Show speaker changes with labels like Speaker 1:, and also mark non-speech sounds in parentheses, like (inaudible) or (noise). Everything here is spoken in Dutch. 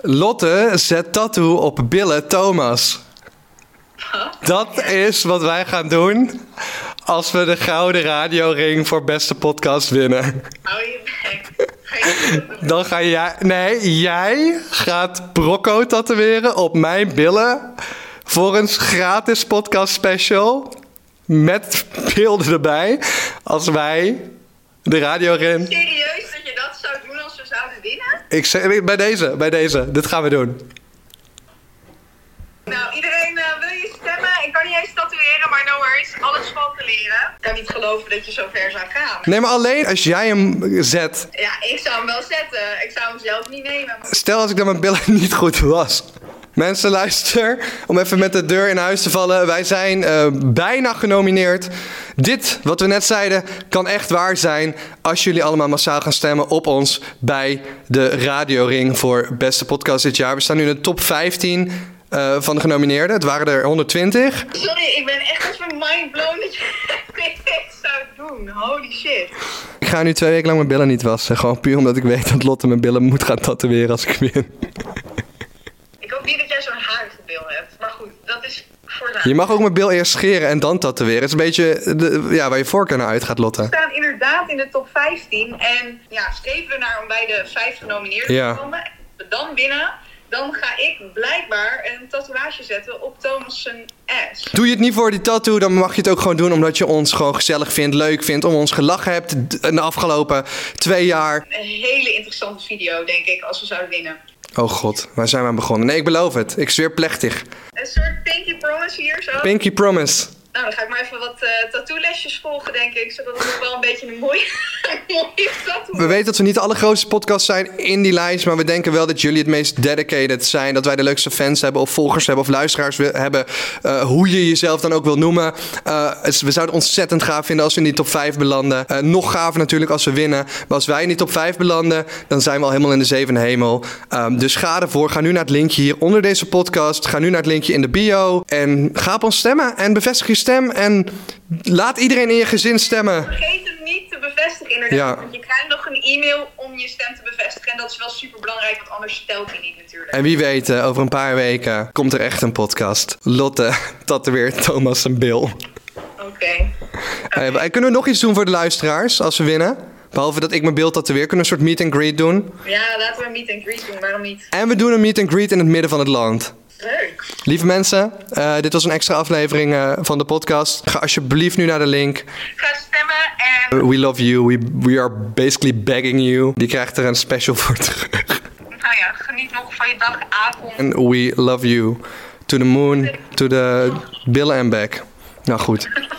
Speaker 1: Lotte zet tattoo op billen Thomas. Dat is wat wij gaan doen als we de gouden radioring voor beste podcast winnen.
Speaker 2: Hou Oh, je bek. Ga je niet doen.
Speaker 1: Dan ga jij... Nee, jij gaat Brocco tatoeëren op mijn billen... voor een gratis podcast special... met beelden erbij... als wij de radioring...
Speaker 2: Serieus dat je dat zou doen als we zouden winnen?
Speaker 1: Ik zeg, bij deze, bij deze. Dit gaan we doen.
Speaker 2: Nou, iedereen eh, wil je stemmen? Ik kan niet eens tatoeëren, maar no worries. Alles valt te leren. Ik kan niet geloven dat je zo ver zou gaan.
Speaker 1: Nee, maar alleen als jij hem zet.
Speaker 2: Ja, ik zou hem wel zetten. Ik zou hem zelf niet nemen.
Speaker 1: Stel als ik dan mijn billen (laughs) niet goed was. Mensen, luister. Om even met de deur in huis te vallen. Wij zijn eh, bijna genomineerd. Dit, wat we net zeiden, kan echt waar zijn. Als jullie allemaal massaal gaan stemmen op ons bij de Radioring voor Beste Podcast dit jaar. We staan nu in de top 15 eh, van de genomineerden. Het waren er 120.
Speaker 2: Sorry, ik ben echt even mindblown dat je (laughs) dit zou doen. Holy shit.
Speaker 1: Ik ga nu twee weken lang mijn billen niet wassen. Gewoon puur omdat ik weet dat Lotte mijn billen moet gaan tatoeëren als ik win.
Speaker 2: Ik hoop niet dat jij zo'n harige bil hebt. Maar goed, dat is voor later.
Speaker 1: Je mag ook mijn bil eerst scheren en dan tatoeëren. Het is een beetje de, ja, waar je voorkeur naar uitgaat, Lotte.
Speaker 2: We staan inderdaad in de top 15. En ja, streven we naar om bij de vijf genomineerden
Speaker 1: Ja.
Speaker 2: te komen. En Als we dan winnen, dan ga ik blijkbaar een tatoeage zetten op Thomas' zijn ass.
Speaker 1: Doe je het niet voor die tattoo, dan mag je het ook gewoon doen omdat je ons gewoon gezellig vindt, leuk vindt, om ons gelachen hebt d- in de afgelopen twee jaar.
Speaker 2: Een hele interessante video, denk ik, als we zouden winnen.
Speaker 1: Oh god, waar zijn we aan begonnen? Nee, ik beloof het. Ik zweer plechtig.
Speaker 2: Een soort pinky promise hier zo.
Speaker 1: Pinky promise.
Speaker 2: Nou, dan ga ik maar even wat eh tattoo-lesjes volgen, denk ik. Zodat het nog wel een beetje een mooie, (laughs) mooie tattoo
Speaker 1: We weten dat we niet de allergrootste podcast zijn in die lijst, maar we denken wel dat jullie het meest dedicated zijn. Dat wij de leukste fans hebben, of volgers hebben, of luisteraars wi- hebben. eh, hoe je jezelf dan ook wil noemen. Eh, dus we zouden het ontzettend gaaf vinden als we in die top 5 belanden. Eh, nog gaver natuurlijk als we winnen. Maar als wij in die top 5 belanden, dan zijn we al helemaal in de zevende hemel. Ehm, dus ga ervoor. Ga nu naar het linkje hier onder deze podcast. Ga nu naar het linkje in de bio. En ga op ons stemmen. En bevestig je stem. En laat iedereen in je gezin stemmen.
Speaker 2: Vergeet hem niet te bevestigen, inderdaad.
Speaker 1: Ja.
Speaker 2: Want je krijgt nog een e-mail om je stem te bevestigen. En dat is wel super belangrijk, want anders stelt hij niet natuurlijk.
Speaker 1: En wie weet, eh, over een paar weken komt er echt een podcast. Lotte (laughs) tatoeëert Thomas en Bill.
Speaker 2: Oké.
Speaker 1: Eh, en kunnen we nog iets doen voor de luisteraars als we winnen? Behalve dat ik mijn beeld tatoeëer, kunnen we een soort meet and greet doen.
Speaker 2: Ja, laten we een meet and greet doen, waarom niet?
Speaker 1: En we doen een meet and greet in het midden van het land.
Speaker 2: Leuk.
Speaker 1: Lieve mensen, eh, dit was een extra aflevering eh, van de podcast. Ga alsjeblieft nu naar de link.
Speaker 2: Ga stemmen en
Speaker 1: We love you, we, we are basically begging you. Die krijgt er een special voor terug. (laughs)
Speaker 2: nou ja, geniet nog van je dag, avond.
Speaker 1: And we love you. To the moon, to the billen en back. Nou goed.